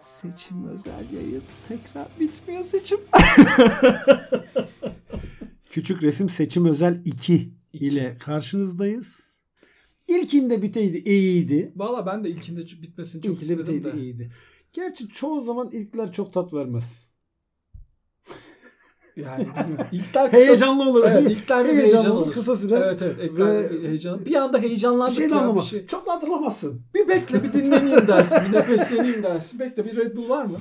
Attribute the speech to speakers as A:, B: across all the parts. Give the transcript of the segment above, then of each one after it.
A: Seçim özel yayın tekrar bitmiyor seçim.
B: Küçük resim seçim özel 2 ile karşınızdayız. İlkinde biteydi iyiydi.
A: Valla ben de ilkinde bitmesini çok
B: İlkinde
A: istedim
B: biteydi
A: de.
B: iyiydi. Gerçi çoğu zaman ilkler çok tat vermez.
A: Yani bilmiyorum. İlkler kısa-
B: Heyecanlı olur.
A: Evet, ilkler bir heyecan
B: heyecanlı olur.
A: olur.
B: Kısa süre.
A: Evet evet. ilkler
B: Ve-
A: bir heyecan. Bir anda
B: Bir
A: heyecanlandık
B: şey de
A: ya,
B: anlama.
A: bir şey.
B: Çok da hatırlamazsın.
A: Bir bekle bir dinleneyim dersin. Bir nefesleneyim dersin. Bekle bir Red Bull var mı?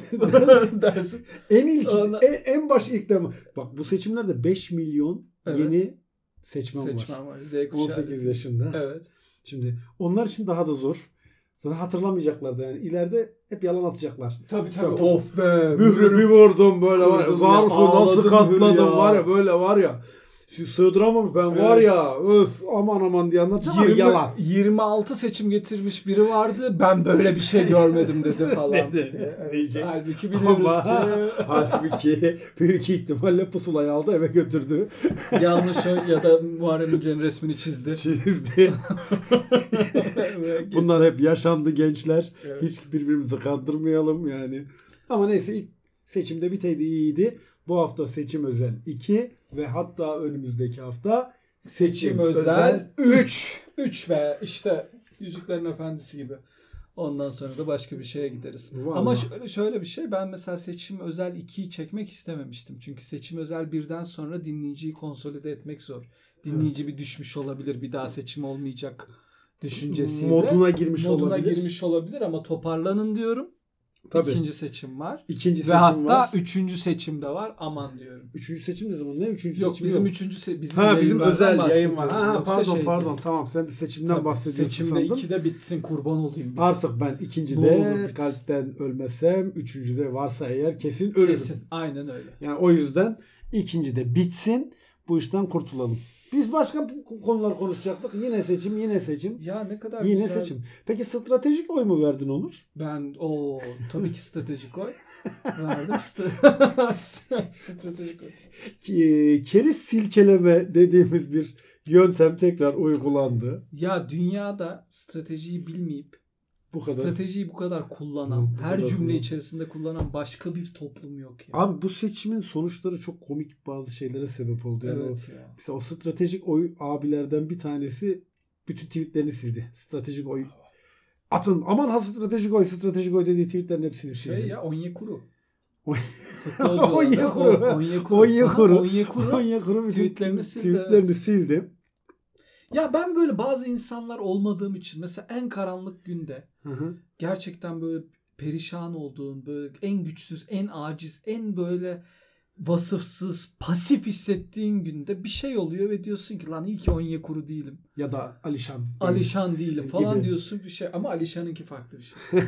A: dersin.
B: En ilk,
A: Ona-
B: en, en baş ilkler. mi? Bak bu seçimlerde 5 milyon
A: Evet.
B: yeni seçmen, var.
A: Seçmen var. Z kuşağı.
B: 18 yaşında.
A: Evet.
B: Şimdi onlar için daha da zor. Zaten hatırlamayacaklar da yani. ileride hep yalan atacaklar.
A: Tabii tabii.
B: tabii.
A: Of be.
B: Mührü bir vurdum böyle var ya.
A: Kırdım
B: Zarfı
A: ya, ağladım
B: nasıl katladım
A: hür ya.
B: var ya böyle var ya. Şu Sığdıramamış ben var
A: Evet.
B: ya. Öf aman aman diye anlatacağım ama
A: 20
B: yalan.
A: 26 seçim getirmiş biri vardı. Ben böyle bir şey görmedim dedi falan.
B: Dedi,
A: diye. Evet,
B: diyecek.
A: Halbuki biliyoruz
B: Ama
A: ki
B: halbuki büyük ihtimalle pusulayı aldı eve götürdü.
A: yanlış o ya da Muharrem İnce'nin resmini çizdi.
B: Çizdi.
A: Ve
B: Bunlar hep yaşandı gençler.
A: Evet.
B: Hiç birbirimizi kandırmayalım yani. Ama neyse ilk seçimde biteydi iyiydi. Bu hafta seçim özel 2 ve hatta önümüzdeki hafta seçim,
A: Seçim özel
B: özel 3.
A: 3 ve işte Yüzüklerin Efendisi gibi. Ondan sonra da başka bir şeye gideriz.
B: Vallahi.
A: Ama şöyle, şöyle bir şey ben mesela seçim özel 2'yi çekmek istememiştim. Çünkü seçim özel 1'den sonra dinleyiciyi konsolide etmek zor. Dinleyici bir düşmüş olabilir bir daha seçim olmayacak düşüncesiyle.
B: Moduna girmiş
A: moduna
B: olabilir.
A: girmiş olabilir ama toparlanın diyorum.
B: Tabii.
A: İkinci seçim var.
B: İkinci
A: Ve
B: seçim
A: hatta
B: var.
A: üçüncü seçim de var aman diyorum.
B: Üçüncü seçim ne zaman? Ne üçüncü
A: Yok
B: seçim?
A: bizim üçüncü se- bizim,
B: Ha bizim
A: yayınlardan
B: özel yayın var.
A: bahsediyorum.
B: Ha, ha
A: Yoksa
B: pardon
A: şey
B: pardon
A: değil.
B: tamam sen de seçimden
A: Tabii,
B: bahsediyorsun
A: Seçimde
B: sandım.
A: iki de bitsin kurban olayım. biz.
B: Artık ben ikincide
A: Ne olur biz.
B: kalpten ölmesem, üçüncüde varsa eğer kesin ölürüm.
A: Kesin. Aynen öyle.
B: Yani o yüzden ikincide bitsin, bu işten kurtulalım. Biz başka bu konular konuşacaktık. Yine seçim, yine seçim,
A: Ya ne kadar
B: yine
A: güzel.
B: seçim. Peki stratejik oy mu verdin Onur?
A: Ben o tabii ki stratejik oy. Verdim. stratejik oy.
B: Ki- e, Keriz silkeleme dediğimiz bir yöntem tekrar uygulandı.
A: Ya dünyada stratejiyi bilmeyip
B: Bu kadar.
A: stratejiyi bu kadar kullanan,
B: Bu- bu
A: her
B: kadar
A: cümle
B: kullanan.
A: içerisinde kullanan başka bir toplum yok ya.
B: Abi bu seçimin sonuçları çok komik bazı şeylere sebep oldu. Yani o
A: evet ya.
B: Mesela o stratejik oy abilerden bir tanesi bütün tweetlerini sildi. Stratejik oy. Atın aman ha stratejik oy stratejik oy dediği tweetlerin hepsini sildi.
A: Şey ya Onyekuru.
B: Oy-
A: Futbolcu
B: Onyekuru.
A: Onyekuru. Onyekuru.
B: Onyekuru.
A: Aha, Onyekuru.
B: Konya Kuru bütün
A: Tweetlerini sildi,
B: tweetlerini
A: evet.
B: sildi.
A: Ya ben böyle bazı insanlar olmadığım için mesela en karanlık günde
B: Hı hı.
A: gerçekten böyle perişan olduğun, böyle en güçsüz, en aciz, en böyle vasıfsız, pasif hissettiğin günde bir şey oluyor ve diyorsun ki lan iyi ki Onyekuru değilim.
B: Ya da Alişan.
A: Alişan değilim falan
B: Gibi.
A: diyorsun bir şey ama Alişan'ınki farklı bir şey.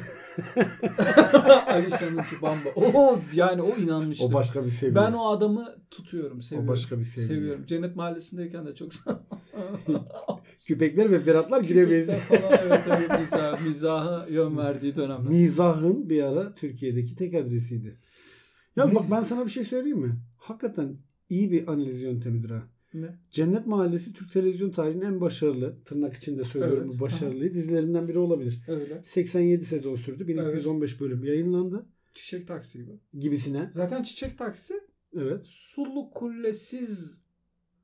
A: Alişan'ınki bamba. O yani o inanmıştı.
B: O başka bir seviye.
A: ben o adamı tutuyorum, seviyorum.
B: o başka bir şey seviye.
A: Seviyorum. Cennet Mahallesi'ndeyken de çok
B: Küpekler ve beratlar giremeyiz.
A: falan evet evet mizah, mizaha yön verdiği dönemler.
B: Mizahın bir ara Türkiye'deki tek adresiydi. Ya bak ben sana bir şey söyleyeyim mi? Hakikaten iyi bir analiz yöntemidir ha.
A: Ne?
B: Cennet Mahallesi Türk televizyon tarihinin en başarılı, tırnak içinde söylüyorum
A: Evet.
B: bu başarılı dizilerinden biri olabilir.
A: Öyle.
B: 87 sezon sürdü. 1215 bölüm yayınlandı
A: Çiçek taksi gibi.
B: gibisine.
A: Zaten Çiçek Taksi
B: Evet.
A: sulu kullesiz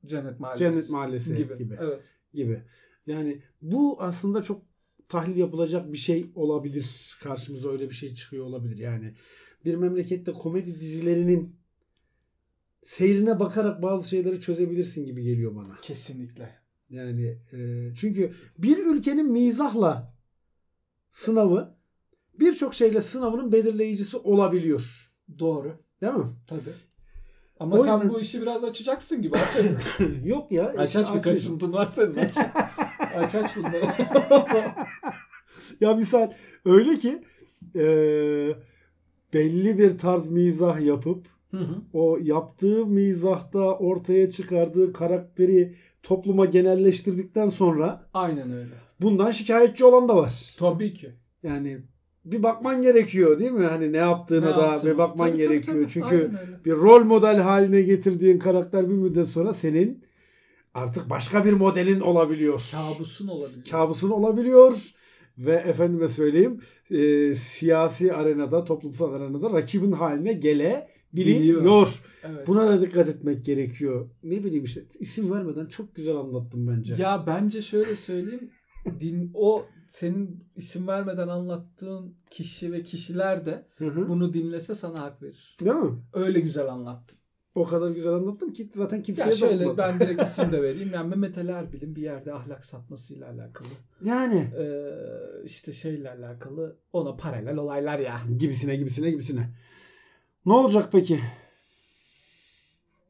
A: Cennet Mahallesi.
B: Cennet Mahallesi gibi.
A: gibi.
B: gibi.
A: Evet.
B: Yani bu aslında çok tahlil yapılacak bir şey olabilir. Karşımıza öyle bir şey çıkıyor olabilir. Yani bir memlekette komedi dizilerinin seyrine bakarak bazı şeyleri çözebilirsin gibi geliyor bana.
A: Kesinlikle.
B: Yani e, çünkü bir ülkenin mizahla sınavı birçok şeyle sınavının belirleyicisi olabiliyor.
A: Doğru.
B: Değil mi?
A: Tabii. Ama
B: O
A: sen
B: yüzden-
A: bu işi biraz açacaksın gibi. Aç aç,
B: Yok ya.
A: aç,
B: işte
A: aç bir
B: aç-
A: kaşıntın var senin. Aç aç, aç bunları.
B: Ya misal öyle ki e, belli bir tarz mizah yapıp
A: Hı hı.
B: o yaptığı mizahta ortaya çıkardığı karakteri topluma genelleştirdikten sonra
A: Aynen öyle.
B: bundan şikayetçi olan da var.
A: Tabii ki.
B: Yani bir bakman gerekiyor değil mi? Hani ne yaptığına
A: Ne
B: da
A: yaptın?
B: bir bakman
A: Tabii, tabii,
B: gerekiyor.
A: tabii.
B: Çünkü
A: Aynen öyle.
B: bir rol model haline getirdiğin karakter bir müddet sonra senin artık başka bir modelin olabiliyor.
A: kabusun olabilir.
B: Kabusun olabiliyor ve efendime söyleyeyim e, siyasi arenada, toplumsal arenada rakibin haline gelebiliyor.
A: Biliyor. Evet.
B: Buna da dikkat etmek gerekiyor. Ne bileyim işte isim vermeden çok güzel anlattım bence.
A: Ya bence şöyle söyleyeyim. Din, o senin isim vermeden anlattığın kişi ve kişiler de
B: Hı hı.
A: bunu dinlese sana hak verir.
B: Değil mi?
A: Öyle güzel anlattın.
B: O kadar güzel anlattım ki zaten kimseye
A: Ya şöyle
B: dokunmadım.
A: ben direkt isim de vereyim. Yani Mehmet Ali Erbil'in bir yerde ahlak satmasıyla alakalı.
B: Yani
A: Ee, işte şeyle alakalı ona paralel olaylar ya.
B: gibisine gibisine gibisine. Ne olacak peki?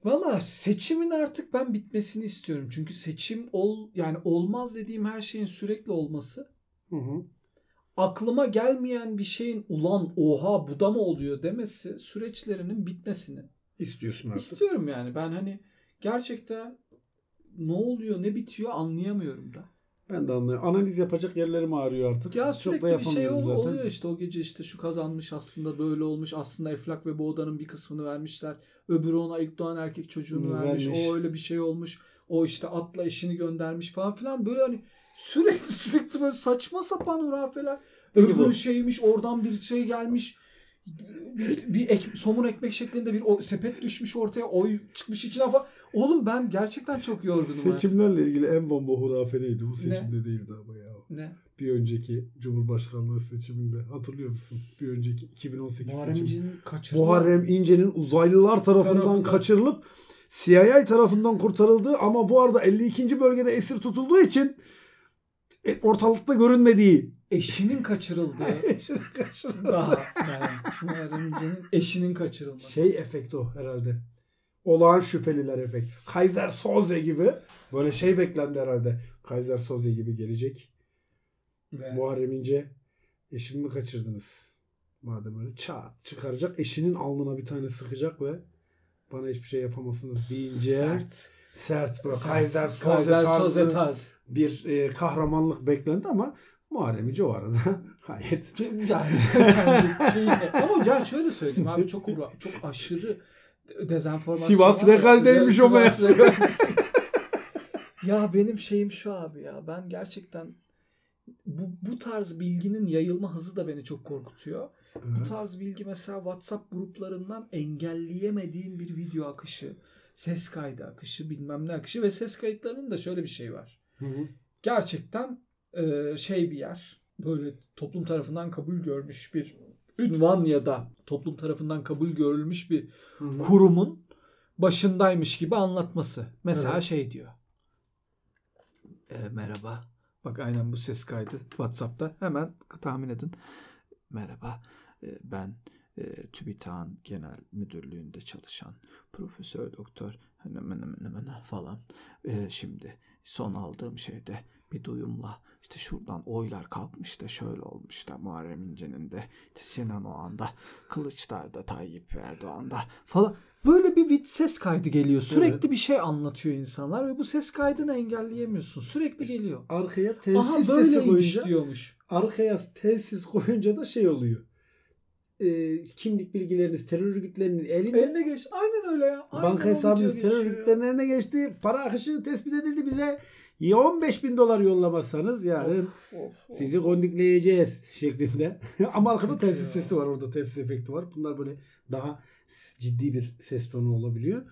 A: Valla seçimin artık ben bitmesini istiyorum. Çünkü seçim ol yani olmaz dediğim her şeyin sürekli olması
B: Hı hı.
A: aklıma gelmeyen bir şeyin ulan oha bu da mı oluyor demesi süreçlerinin bitmesini
B: İstiyorsun artık.
A: istiyorum yani. Ben hani gerçekten ne oluyor ne bitiyor anlayamıyorum da.
B: Ben de anlıyorum. Analiz yapacak yerlerim ağrıyor artık.
A: Ya
B: çok
A: sürekli
B: da
A: bir şey
B: yapamıyorum
A: ol-
B: zaten.
A: oluyor işte o gece işte şu kazanmış aslında böyle olmuş aslında Eflak ve Boğda'nın bir kısmını vermişler. Öbürü ona ilk doğan erkek çocuğunu
B: Hı,
A: vermiş.
B: vermiş.
A: O öyle bir şey olmuş. O işte atla eşini göndermiş falan filan böyle hani sürekli sürekli böyle saçma sapan hurafeler.
B: Peki bu-
A: Öbürü şeymiş oradan bir şey gelmiş. Bir, bir ek- somun ekmek şeklinde bir o- sepet düşmüş ortaya oy çıkmış içine falan. Oğlum ben gerçekten çok yorgunum. artık.
B: Seçimlerle ilgili en bomba hurafeliydi. Bu
A: Ne?
B: seçimde değildi ama ya.
A: Ne?
B: Bir önceki Cumhurbaşkanlığı seçiminde. Hatırlıyor musun? Bir önceki 2018
A: Muharrem
B: seçimi.
A: İnce'nin kaçırdığı-
B: Muharrem İnce'nin uzaylılar tarafından
A: Tarafından.
B: kaçırılıp CIA tarafından kurtarıldığı ama bu arada 52. bölgede esir tutulduğu için e, ortalıkta görünmediği.
A: eşinin kaçırıldığı. Daha yani Muharrem İnce'nin eşinin kaçırılması.
B: şey efekti o herhalde. Olağan şüpheliler efekt. Kaiser Soze gibi böyle şey beklendi herhalde. Kaiser Soze gibi gelecek.
A: Ve
B: Muharrem İnce eşimi mi kaçırdınız? Madem öyle çat çıkaracak. Eşinin alnına bir tane sıkacak ve bana hiçbir şey yapamazsınız deyince
A: sert.
B: Sert böyle
A: Sert.
B: Kaiser Soze
A: Kaiser
B: tarzı
A: Soze tarz.
B: bir e, kahramanlık beklendi ama Muharrem İnce o arada gayet
A: Yani kendi şeyine. Ama ya şöyle söyleyeyim abi çok uğra- çok aşırı dezenformasyon.
B: Sivas
A: var ya.
B: Regal'deymiş o
A: Sivas
B: meğer.
A: Regal'deymiş. ya benim şeyim şu abi ya ben gerçekten bu, bu tarz bilginin yayılma hızı da beni çok korkutuyor. Bu tarz bilgi mesela WhatsApp gruplarından engelleyemediğin bir video akışı, ses kaydı akışı, bilmem ne akışı ve ses kayıtlarının da şöyle bir şey var.
B: Hı hı.
A: Gerçekten e, şey bir yer, böyle toplum tarafından kabul görmüş bir ünvan ya da toplum tarafından kabul görülmüş bir
B: Hı hı.
A: kurumun başındaymış gibi anlatması. Mesela
B: Evet.
A: şey diyor. "E, merhaba. Bak aynen bu ses kaydı WhatsApp'ta. Hemen tahmin edin. Merhaba. e, ben e, TÜBİTAK'ın genel müdürlüğünde çalışan profesör doktor hemen hemen hemen falan. E, şimdi son aldığım şeyde bir duyumla işte şuradan oylar kalkmış da şöyle olmuş da Muharrem İnce'nin de işte Sinan Oğan'da Kılıçdar'da Tayyip Erdoğan'da falan. Böyle bir vid ses kaydı geliyor. Sürekli
B: Evet.
A: bir şey anlatıyor insanlar ve bu ses kaydını engelleyemiyorsun. Sürekli
B: İşte
A: geliyor.
B: Arkaya telsiz
A: Aha
B: sesi
A: böyleymiş
B: koyunca
A: diyormuş.
B: arkaya telsiz koyunca da şey oluyor. E, kimlik bilgileriniz terör örgütlerinin elinde.
A: Eline geç. Aynen öyle ya. Aynen
B: Banka
A: o
B: hesabınız
A: video
B: terör
A: geçiyor ya.
B: örgütlerinin eline geçti. Para akışı tespit edildi bize. Ya 15 bin dolar yollamazsanız yarın
A: Of, of, of.
B: sizi gondikleyeceğiz şeklinde. Ama arkada
A: Kötü
B: telsiz
A: ya.
B: sesi var orada telsiz efekti var. Bunlar böyle daha ciddi bir ses tonu olabiliyor.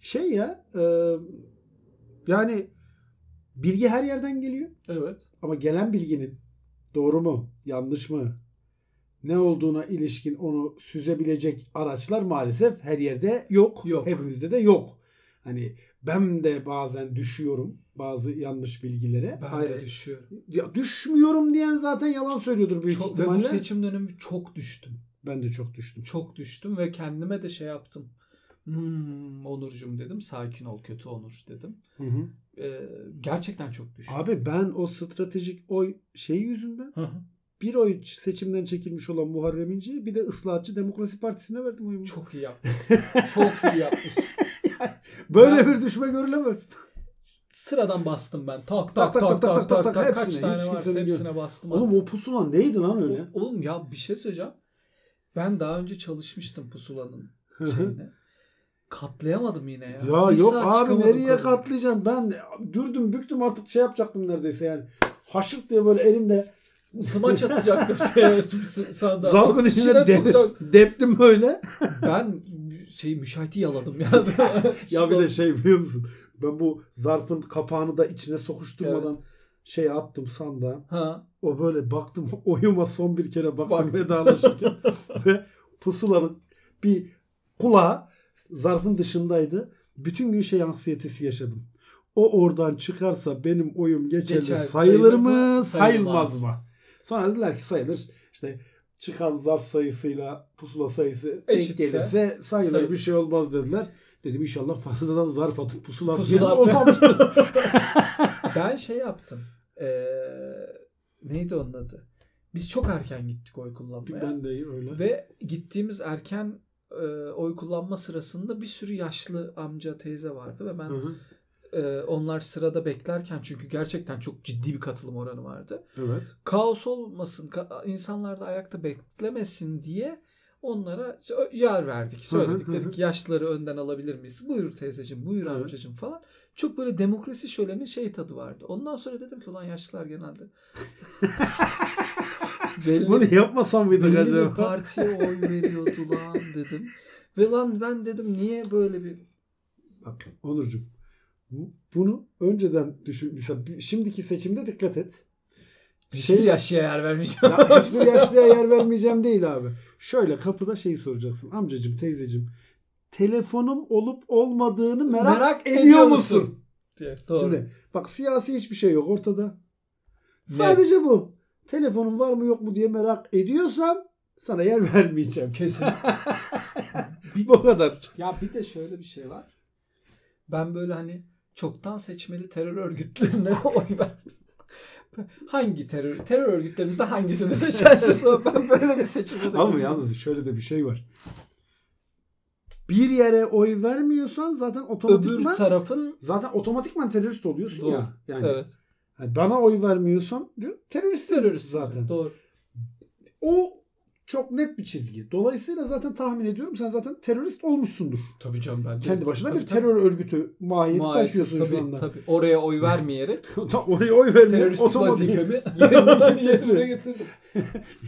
B: Şey ya e, yani bilgi her yerden geliyor.
A: Evet.
B: Ama gelen bilginin doğru mu, yanlış mı, ne olduğuna ilişkin onu süzebilecek araçlar maalesef her yerde yok.
A: Yok.
B: Hepimizde de yok. Hani ben de bazen düşüyorum bazı yanlış bilgilere.
A: Ben
B: Ayrı-
A: de düşüyorum.
B: Ya düşmüyorum diyen zaten yalan söylüyordur büyük
A: Çok, ve bu
B: ihtimalle.
A: seçim dönemi çok düştüm.
B: Ben de çok düştüm.
A: Çok düştüm ve kendime de şey yaptım. Hmm, Onurcuğum dedim. Sakin ol kötü Onur dedim.
B: Hı hı.
A: Ee, gerçekten çok düştüm.
B: Abi ben o stratejik oy şeyi yüzünden
A: Hı hı.
B: bir oy seçimden çekilmiş olan Muharrem İnce'yi bir de Islahatçı Demokrasi Partisi'ne verdim oyumu.
A: Çok iyi yapmışsın. çok iyi yapmışsın.
B: Böyle
A: Ben-
B: bir düşme görülemez.
A: Sıradan bastım ben. Tak
B: Tak,
A: tak
B: tak,
A: tak
B: tak, tak,
A: tak tak
B: tak,
A: tak. Kaç
B: hepsine, hiç
A: tane varsa
B: kimsenin
A: hepsine bastım.
B: Oğlum o pusula neydi lan öyle?
A: O- Oğlum ya bir şey söyleyeceğim. Ben daha önce çalışmıştım pusulanın şeyine. Katlayamadım yine ya.
B: Şey, ya
A: Bir
B: yok
A: saat
B: abi
A: çıkamadım
B: nereye
A: kadın.
B: katlayacaksın? Ben dürdüm büktüm artık şey yapacaktım neredeyse yani. Haşırt diye böyle elimde
A: Smaç atacaktım şeye, s- sandığa.
B: Zarfın içine
A: İçine
B: de,
A: sokacak.
B: deptim böyle.
A: Ben şey müşahiti yaladım ya.
B: Ya bir de şey biliyor musun? Ben bu zarfın kapağını da içine sokuşturmadan
A: Evet.
B: şey attım sandığa.
A: Ha.
B: O böyle baktım oyuma son bir kere baktım
A: Baktım.
B: vedalaşırken ve pusulanın bir kulağı zarfın dışındaydı. Bütün gün şey anksiyetesi yaşadım. O oradan çıkarsa benim oyum geçerli
A: Geçer,
B: sayılır
A: sayılır
B: mı
A: mı,
B: sayılmaz
A: sayılmaz.
B: mı? Sonra dediler ki sayılır. İşte çıkan zarf sayısıyla pusula sayısı denk
A: Eşitse
B: gelirse sayılır
A: sayılır.
B: bir şey olmaz dediler. Dedim inşallah fazladan zarf atıp pusula atmayan
A: Pusula
B: olmamıştır.
A: Ben şey yaptım. Ee, neydi onun adı? Biz çok erken gittik oy kullanmaya.
B: ben de öyle.
A: Ve gittiğimiz erken e, oy kullanma sırasında bir sürü yaşlı amca teyze vardı ve ben
B: Hı hı.
A: e, onlar sırada beklerken çünkü gerçekten çok ciddi bir katılım oranı vardı.
B: Evet.
A: Kaos olmasın, ka- insanlar da ayakta beklemesin diye onlara sö- yer verdik.
B: Hı hı,
A: Söyledik
B: hı
A: dedik ki, yaşlıları önden alabilir miyiz? Buyur teyzeciğim, buyur
B: Evet.
A: amcacığım falan. Çok böyle demokrasi şölenin şey tadı vardı. Ondan sonra dedim ki ulan yaşlılar genelde belli
B: Bunu yapmasam mıydık
A: Belli
B: acaba?
A: bir partiye oy veriyordu lan dedim. Ve lan ben dedim niye böyle bir...
B: Bak Onurcuğum bu- bunu önceden düşün. Mesela bir- şimdiki seçimde dikkat et.
A: Hiçbir
B: Şey-
A: yaşlıya yer vermeyeceğim.
B: Ya hiçbir yaşlıya yer vermeyeceğim değil abi. Şöyle kapıda şeyi soracaksın. Amcacığım, teyzecim telefonum olup olmadığını merak, ediyor, musun?
A: Diye. Doğru.
B: Şimdi bak siyasi hiçbir şey yok ortada.
A: Net.
B: Sadece bu. Telefonun var mı yok mu diye merak ediyorsan sana yer vermeyeceğim.
A: Kesin.
B: bu kadar.
C: Ya bir de şöyle bir şey var.
A: Ben böyle hani çoktan seçmeli terör örgütlerine oy ver. Hangi terör terör örgütlerimizde hangisini seçersiniz? ben böyle bir seçimde de-
B: Ama yalnız şöyle de bir şey var. Bir yere oy vermiyorsan zaten
A: öbür
B: otomatikman
A: tarafın
B: zaten otomatikman terörist oluyorsun
A: Doğru.
B: ya. Yani
A: evet
B: hani bana oy vermiyorsan diyor terörist
A: terörist
B: zaten.
A: Doğru.
B: O çok net bir çizgi. Dolayısıyla zaten tahmin ediyorum sen zaten terörist olmuşsundur.
A: Tabii canım ben. de-
B: Kendi başına
A: Tabii,
B: bir
A: tabii.
B: terör örgütü mahiyeti
A: Maalesef,
B: taşıyorsun
A: tabii,
B: şu anda.
A: Tabii. Oraya oy vermeyerek
B: Tam Oraya oy vermiyor.
A: terörist
B: Otomatik.
A: vazifemi
B: Yerine getirdim.
A: yerine getirdim.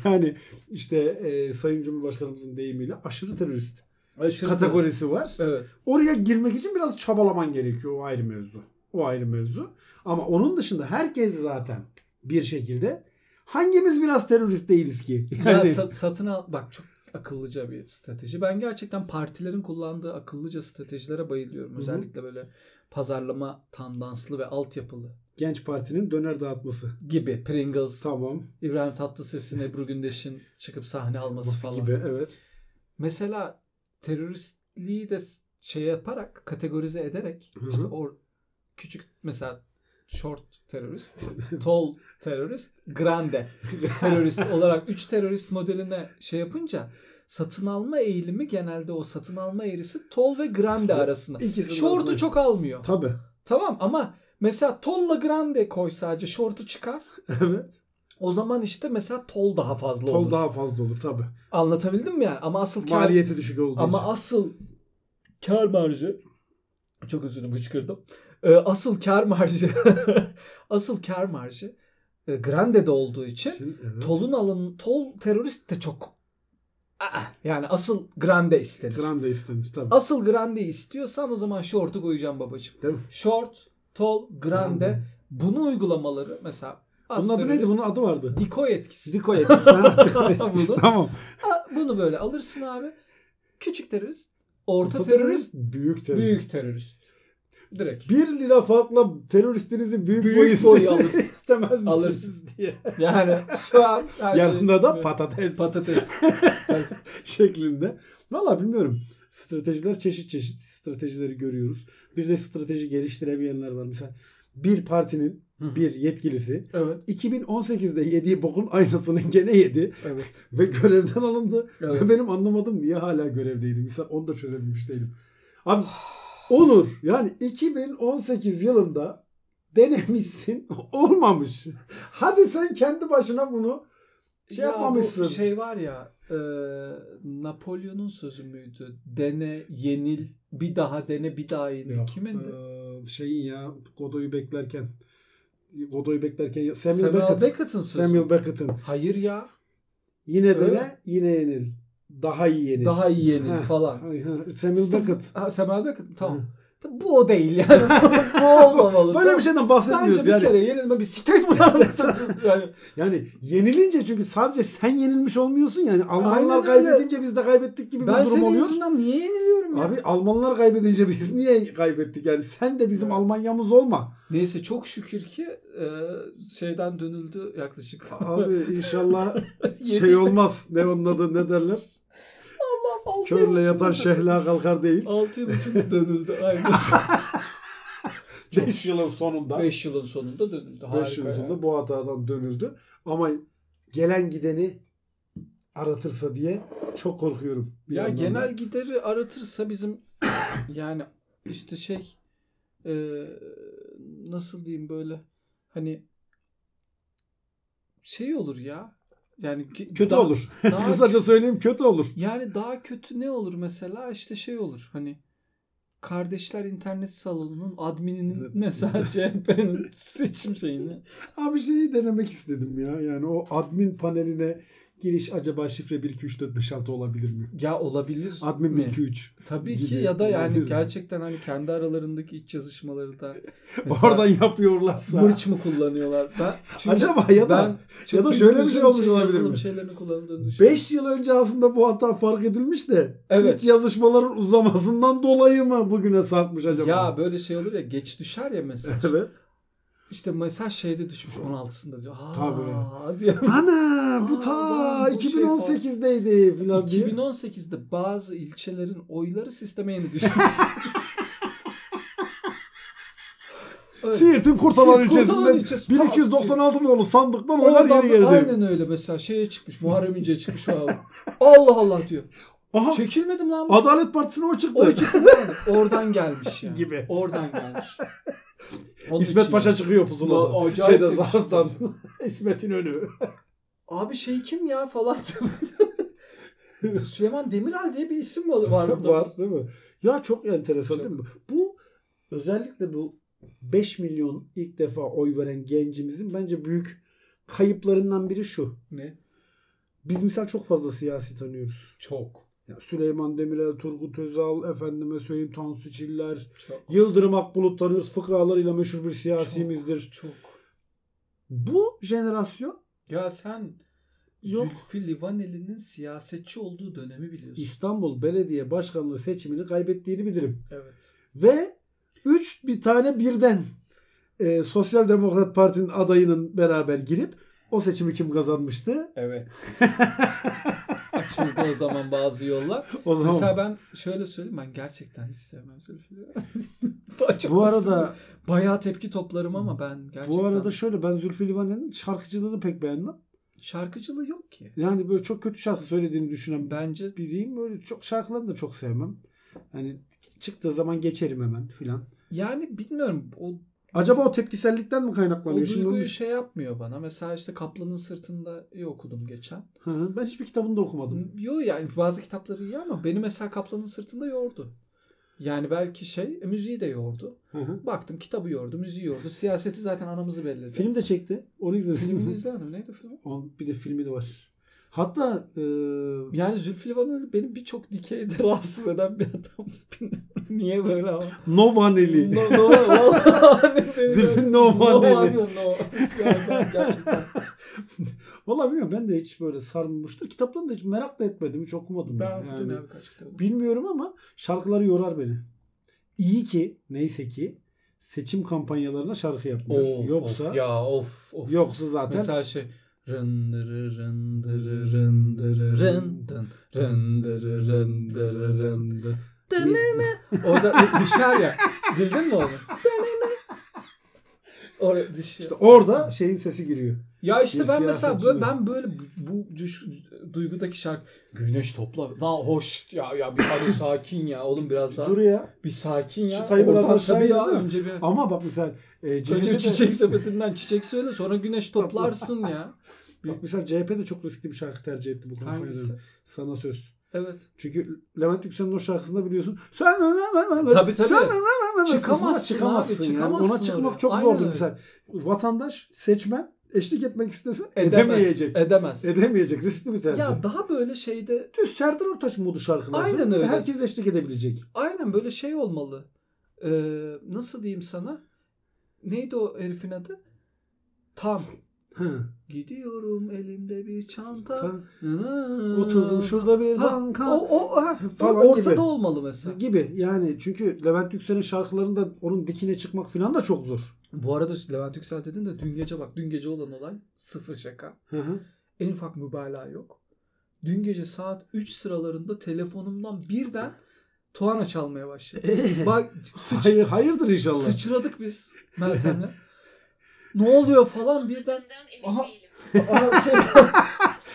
B: Yani işte e, Sayın Cumhurbaşkanımızın deyimiyle aşırı terörist
A: Aşırı
B: kategorisi var.
A: Evet.
B: Oraya girmek için biraz çabalaman gerekiyor. O ayrı mevzu. O ayrı mevzu. Ama onun dışında herkes zaten bir şekilde hangimiz biraz terörist değiliz ki?
A: Ya
B: Yani
A: sa- satın al bak çok akıllıca bir strateji. Ben gerçekten partilerin kullandığı akıllıca stratejilere bayılıyorum.
B: hı.
A: Özellikle böyle pazarlama tandanslı ve altyapılı
B: genç partinin döner dağıtması.
A: gibi Pringles,
B: Tamam.
A: İbrahim Tatlıses'in, Ebru Gündeş'in çıkıp sahne alması
B: Nasıl
A: falan.
B: gibi evet.
A: Mesela teröristliği de s- şey yaparak, kategorize ederek
B: Hı hı.
A: işte or küçük mesela short terörist, tall terörist, grande terörist olarak 3 terörist modeline şey yapınca satın alma eğilimi genelde o satın alma eğrisi tol ve grande arasında.
B: İkisini
A: Şortu
B: arasında-
A: çok almıyor.
B: Tabii.
A: Tamam ama mesela tolla grande koy sadece şortu çıkar.
B: Evet.
A: O zaman işte mesela tol daha fazla
B: Tol
A: olur.
B: daha fazla olur tabii.
A: Anlatabildim mi yani? Ama asıl kar,
B: Maliyeti düşük olduğu
A: ama
B: için.
A: asıl kar marjı çok üzüldüm hıçkırdım. Ee, asıl kar marjı asıl kar marjı e, grande'de olduğu için
B: Şimdi, evet.
A: Tol'un alın Tol terörist de çok. Aa, yani asıl Grande istenir.
B: Grande istenir tabii.
A: Asıl Grande istiyorsan o zaman şortu koyacağım babacığım.
B: Değil mi?
A: Short, Tol, Grande.
B: Grande.
A: Bunu uygulamaları mesela az
B: Bunun adı neydi?
A: terörist,
B: Bunun adı vardı.
A: Dikoy etkisi.
B: Diko etkisi. ha, diko etkisi.
A: Bunu-
B: tamam.
A: Aa, bunu böyle alırsın abi. Küçük terörist, orta,
B: Orta
A: terörist,
B: terörist, büyük terörist.
A: büyük terörist. Direkt.
B: 1 lira farkla teröristinizi büyük,
A: Büyük
B: boy, iste-
A: boy alırsın.
B: istemez misiniz
A: Alırsın.
B: diye.
A: Yani şu an her şey-
B: Yanında da patates
A: patates. Tabii.
B: şeklinde. Valla bilmiyorum. Stratejiler çeşit çeşit stratejileri görüyoruz. Bir de strateji geliştiremeyenler var. Mesela bir partinin
A: Hı.
B: bir yetkilisi
A: evet,
B: 2018'de yediği bokun aynısını gene yedi
A: evet.
B: ve görevden alındı.
A: evet.
B: Ve benim anlamadım niye hala görevdeydi. Mesela onu da çözebilmiş değilim. Abi Olur. Yani 2018 yılında denemişsin olmamış. Hadi sen kendi başına bunu şey
A: Ya bu
B: yapmamışsın.
A: Şey var ya e, Napolyon'un sözü müydü? Dene, yenil, bir daha dene, bir daha yenil.
B: Yok, e,
A: Kimindi?
B: eee, şeyin ya Godoy'u beklerken Godoy'u beklerken Samuel,
A: Samuel
B: Beckett.
A: Beckett'ın sözü.
B: Samuel Beckett'ın.
A: Hayır ya.
B: Yine de
A: Öyle.
B: ne? Yine yenil. Daha iyi yenil.
A: Daha iyi yenil
B: Ha,
A: falan.
B: ha, ha. Samuel Beckett.
A: Ha, Samuel Beckett tamam. Bu o değil yani. bu olmamalı.
B: Böyle bir şeyden
A: Bence
B: bahsetmiyoruz
A: bir
B: yani.
A: kere yenilme bir siktir git buradan. yani,
B: Yani yenilince çünkü sadece sen yenilmiş olmuyorsun yani. Almanlar
A: Aynen öyle.
B: kaybedince biz de kaybettik gibi
A: ben
B: bir durum
A: senin
B: oluyor.
A: yüzünden niye yeniliyorum ya?
B: Abi Almanlar kaybedince biz niye kaybettik yani? Sen de bizim
A: Evet.
B: Almanya'mız olma.
A: Neyse çok şükür ki e, şeyden dönüldü yaklaşık.
B: Abi inşallah
A: Yedi-
B: şey olmaz. Ne onun adı ne derler?
A: Allah, altı yıl
B: Körle yatan şey
A: içinde-
B: şehla kalkar değil.
A: Altı yıl içinde dönüldü. Aynen.
B: 5 yılın sonunda. 5
A: 5 yılın sonunda dönüldü. Harika
B: yılın
A: ya.
B: sonunda bu hatadan dönüldü. Ama gelen gideni aratırsa diye çok korkuyorum. bir
A: Ya
B: yandan da.
A: genel gideri aratırsa bizim yani işte şey e, nasıl diyeyim böyle hani şey olur ya yani ge-
B: kötü
A: daha-
B: olur.
A: daha-
B: Kısaca söyleyeyim kötü olur.
A: yani daha kötü ne olur mesela işte şey olur hani kardeşler internet salonunun admininin mesela CHP'nin seçim şeyini
B: Abi şeyi denemek istedim ya. Yani o admin paneline giriş acaba şifre 1 2 3 4 5 6 olabilir mi?
A: ya olabilir
B: Admin
A: mi?
B: 1 2 3.
A: Tabii ki
B: gibi
A: ya da yani
B: olabilir.
A: gerçekten hani kendi aralarındaki iç yazışmaları da mesela-
B: Oradan yapıyorlarsa.
A: Mırç mı kullanıyorlar? Ben, çünkü
B: Acaba ya da
A: ben çok
B: ya da şöyle bir
A: bildiğim
B: şey olmuş
A: yazılım
B: olabilir mi?
A: şeylerini kullandığını düşünüyorum.
B: 5 yıl önce aslında bu hata fark edilmiş de
A: Evet.
B: hiç yazışmaların uzamasından dolayı mı bugüne sarkmış acaba?
A: Ya böyle şey olur ya geç düşer ya mesaj.
B: Evet.
A: İşte mesaj şeyde düşmüş 16'sında diyor. Aa,
B: Tabii.
A: diye.
B: Ana bu
A: Aa,
B: ta
A: lan bu şey
B: 2018'deydi filan diye.
A: 2018'de bazı ilçelerin oyları sisteme yeni düşmüş. Evet.
B: Siirt'in Kurtalan
A: Siirt
B: ilçesinden
A: Kurtalan ilçesi.
B: 1296 nolu sandıktan oylar
A: Oradan
B: yeni
A: da
B: geldi.
A: Aynen öyle mesela şeye çıkmış Muharrem İnce'ye çıkmış falan. Allah Allah diyor.
B: Aha
A: Çekilmedim lan. bu.
B: Adalet Partisi'ne o çıktı.
A: Şey- O çıktı yani. Oradan gelmiş yani.
B: Gibi.
A: Oradan gelmiş. Onun
B: İsmet
A: için
B: Paşa
A: yani.
B: çıkıyor
A: Ulan
B: pusuladan.
A: acayip şey.
B: Şeyde
A: demiş.
B: zarftan. şey İsmet'in önü.
A: Abi şey kim ya falan. Süleyman Demirel diye bir isim var. var burada.
B: Var değil mi? Ya çok enteresan
A: Çok.
B: değil mi? Bu özellikle bu 5 milyon ilk defa oy veren gencimizin bence büyük kayıplarından biri şu.
A: Ne?
B: Biz misal çok fazla siyasi tanıyoruz.
A: Çok.
B: Ya Süleyman Demirel, Turgut Özal, efendime söyleyeyim Tansu Çiller,
A: Çok.
B: Yıldırım Akbulut tanıyoruz. Fıkralarıyla meşhur bir siyasimizdir.
A: Çok.
B: Bu jenerasyon
A: Ya sen
B: Yok.
A: Zülfü Livaneli'nin siyasetçi olduğu dönemi biliyorsun.
B: İstanbul Belediye Başkanlığı seçimini kaybettiğini bilirim.
A: Evet.
B: ve 3 bir tane birden e, Sosyal Demokrat Parti'nin adayının beraber girip o seçimi kim kazanmıştı?
A: Evet. Açıldı o zaman bazı yollar.
B: O zaman
A: Mesela ben şöyle söyleyeyim ben gerçekten hiç sevmem Zülfü Livaneli. Açılmasın
B: bu arada
A: Bayağı tepki toplarım ama ben gerçekten.
B: bu arada şöyle ben Zülfü Livaneli'nin şarkıcılığını pek beğenmem.
A: şarkıcılığı yok ki.
B: Yani böyle çok kötü şarkı söylediğini düşünen ben
A: Bence
B: biriyim. Böyle çok şarkılarını da çok sevmem. Hani çıktığı zaman geçerim hemen filan.
A: yani bilmiyorum o,
B: Acaba o tepkisellikten mi
A: o
B: kaynaklanıyor? Şimdi onu
A: duyguyu
B: düş-
A: şey yapmıyor bana. Mesela işte Kaplan'ın sırtında iyi okudum geçen.
B: Hı hı, ben hiçbir kitabını da okumadım.
A: Yo yani bazı kitapları iyi ama beni mesela Kaplan'ın sırtında yordu. Yani belki şey e, müziği de yordu.
B: Hı hı.
A: Baktım kitabı yordu, müziği yordu. Siyaseti zaten anamızı belledi.
B: Film de çekti. Onu izledim.
A: Filmini izlemedim. Neydi film?
B: On- Bir de filmi de var. Hatta e,
A: Yani Zülfü Livaneli beni birçok dikeyde rahatsız eden bir adam. Niye böyle ama?
B: Novaneli.
A: No, no, vallahi.
B: Zülfü Novaneli.
A: No, no, no. Yani ben gerçekten.
B: Valla bilmiyorum ben de hiç böyle sarmamıştır. Kitaplarını da hiç merak da etmedim. Hiç okumadım.
A: Ben
B: yani.
A: okudum
B: Yani
A: abi kaç kitabı.
B: Bilmiyorum ama şarkıları yorar beni. İyi ki neyse ki seçim kampanyalarına şarkı yapmıyor.
A: Of,
B: yoksa
A: of, ya of of.
B: yoksa zaten
A: Mesela şey rın dırı rın dırı rın dırı rın dın rın dırı rın dırı rın dın. Orada e, düşer ya. Bildin mi onu? Orada düşüyor.
B: işte orada şeyin sesi giriyor.
A: ya işte
B: bir
A: ben mesela
B: siyasetçi
A: böyle, ben böyle bu, bu düş, duygudaki şarkı Güneş topla. Lan hoş ya ya bir hadi sakin ya oğlum biraz daha.
B: Dur ya.
A: Bir sakin ya.
B: Çıtayı biraz
A: Oradan
B: aşağı
A: tabii ya,
B: indir, değil mi?
A: Önce bir
B: Ama bak mesela e,
A: Önce
B: CHP'de,
A: bir çiçek sepetinden çiçek söyle sonra güneş toplarsın ya.
B: bak mesela CHP de çok riskli bir şarkı tercih etti bu kampanyada.
A: Hangisi?
B: Sana söz.
A: Evet.
B: Çünkü Levent Yüksel'in o şarkısında biliyorsun. Sen
A: Tabii, tabii.
B: Sen Çıkamazsın.
A: Çıkamazsın
B: çıkamazsın.
A: abi,
B: yani.
A: çıkamazsın
B: Ona çıkmak
A: oraya.
B: çok
A: Aynen
B: zordur
A: öyle.
B: mesela. Vatandaş, seçmen eşlik etmek istese
A: Edemez.
B: edemeyecek.
A: Edemez.
B: Edemeyecek. Riskli bir tercih.
A: ya daha böyle şeyde
B: Düz Serdar Ortaç modu şarkılar.
A: Aynen
B: söylüyor.
A: öyle.
B: Herkes eşlik edebilecek.
A: aynen böyle şey olmalı. Ee, nasıl diyeyim sana? Neydi o herifin adı? Tam.
B: Hı.
A: Gidiyorum elimde bir çanta.
B: Ta-
A: Nana.
B: Oturdum şurada bir
A: Ha,
B: banka.
A: O, o, ha, o
B: Falan
A: ortada
B: gibi.
A: olmalı mesela.
B: gibi yani çünkü Levent Yüksel'in şarkılarında onun dikine çıkmak falan da çok zor.
A: Bu arada Levent Yüksel dedin de dün gece bak dün gece olan olay sıfır şaka.
B: Hı hı.
A: En ufak mübalağa yok. Dün gece saat 3 sıralarında telefonumdan birden Tuana çalmaya başladı. Eh, Bak sıç-
B: Hayır, hayırdır inşallah.
A: sıçradık biz Meltem'le. ne oluyor falan birden Aha. Aa, şey,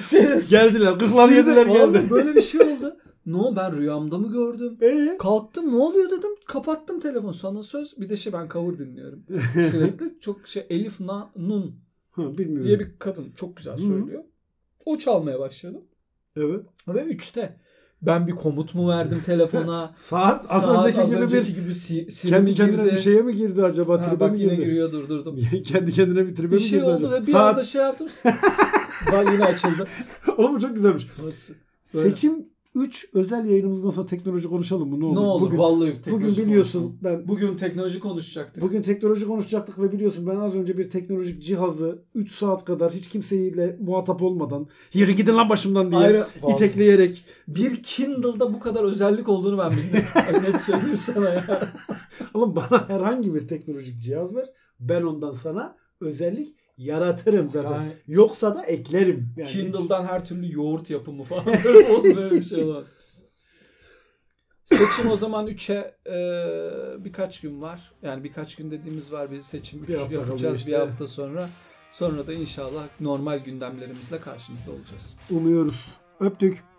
A: şey,
B: Geldiler. Kırklar yediler
A: Vallahi
B: geldi.
A: Böyle bir şey oldu. No ben rüyamda mı gördüm?
B: Ee?
A: Kalktım ne oluyor dedim. Kapattım telefon sana söz. Bir de şey ben cover dinliyorum.
B: Eh.
A: Sürekli çok şey Elif Na, Nun
B: Ha, Bilmiyorum.
A: diye bir kadın çok güzel
B: Hı.
A: söylüyor. O çalmaya başladı.
B: Evet.
A: Ve 3'te ben bir komut mu verdim telefona?
B: Saat az
A: Saat
B: önceki gibi
A: önceki
B: bir
A: gibi si, sirimi
B: kendi kendine
A: girdi.
B: bir şeye mi girdi acaba?
A: Ha,
B: tribe
A: bak
B: mi
A: yine
B: girdi?
A: giriyor durdurdum.
B: kendi kendine bir tribe
A: Bir
B: mi
A: şey
B: girdi
A: oldu
B: acaba?
A: ve bir
B: Saat.
A: anda şey yaptım. ben yine açıldı.
B: Oğlum çok güzelmiş.
A: Böyle.
B: Seçim 3 özel yayınımızdan sonra teknoloji konuşalım mı? Ne olur?
A: ne olur
B: Bugün,
A: vallahi
B: bugün
A: teknoloji
B: biliyorsun
A: konuşalım.
B: ben
A: Bugün teknoloji konuşacaktık.
B: Bugün teknoloji konuşacaktık ve biliyorsun ben az önce bir teknolojik cihazı 3 saat kadar hiç kimseyle muhatap olmadan yürü gidin lan başımdan diye
A: Ayrı-
B: itekleyerek
A: Bir Kindle'da bu kadar özellik olduğunu ben bilmiyorum. Net söyleyeyim sana ya.
B: alın bana herhangi bir teknolojik cihaz ver ben ondan sana özellik yaratırım zaten.
A: Yani
B: Yoksa da eklerim. Yani hiç-
A: Kindle'dan her türlü yoğurt yapımı falan böyle, oldu, böyle bir şey olmaz. Seçim o zaman 3'e birkaç gün var. Yani birkaç gün dediğimiz var bir seçim üç
B: Bir hafta kalıyor
A: yapacağız
B: işte.
A: bir hafta sonra. Sonra da inşallah normal gündemlerimizle karşınızda olacağız.
B: umuyoruz. Öptük.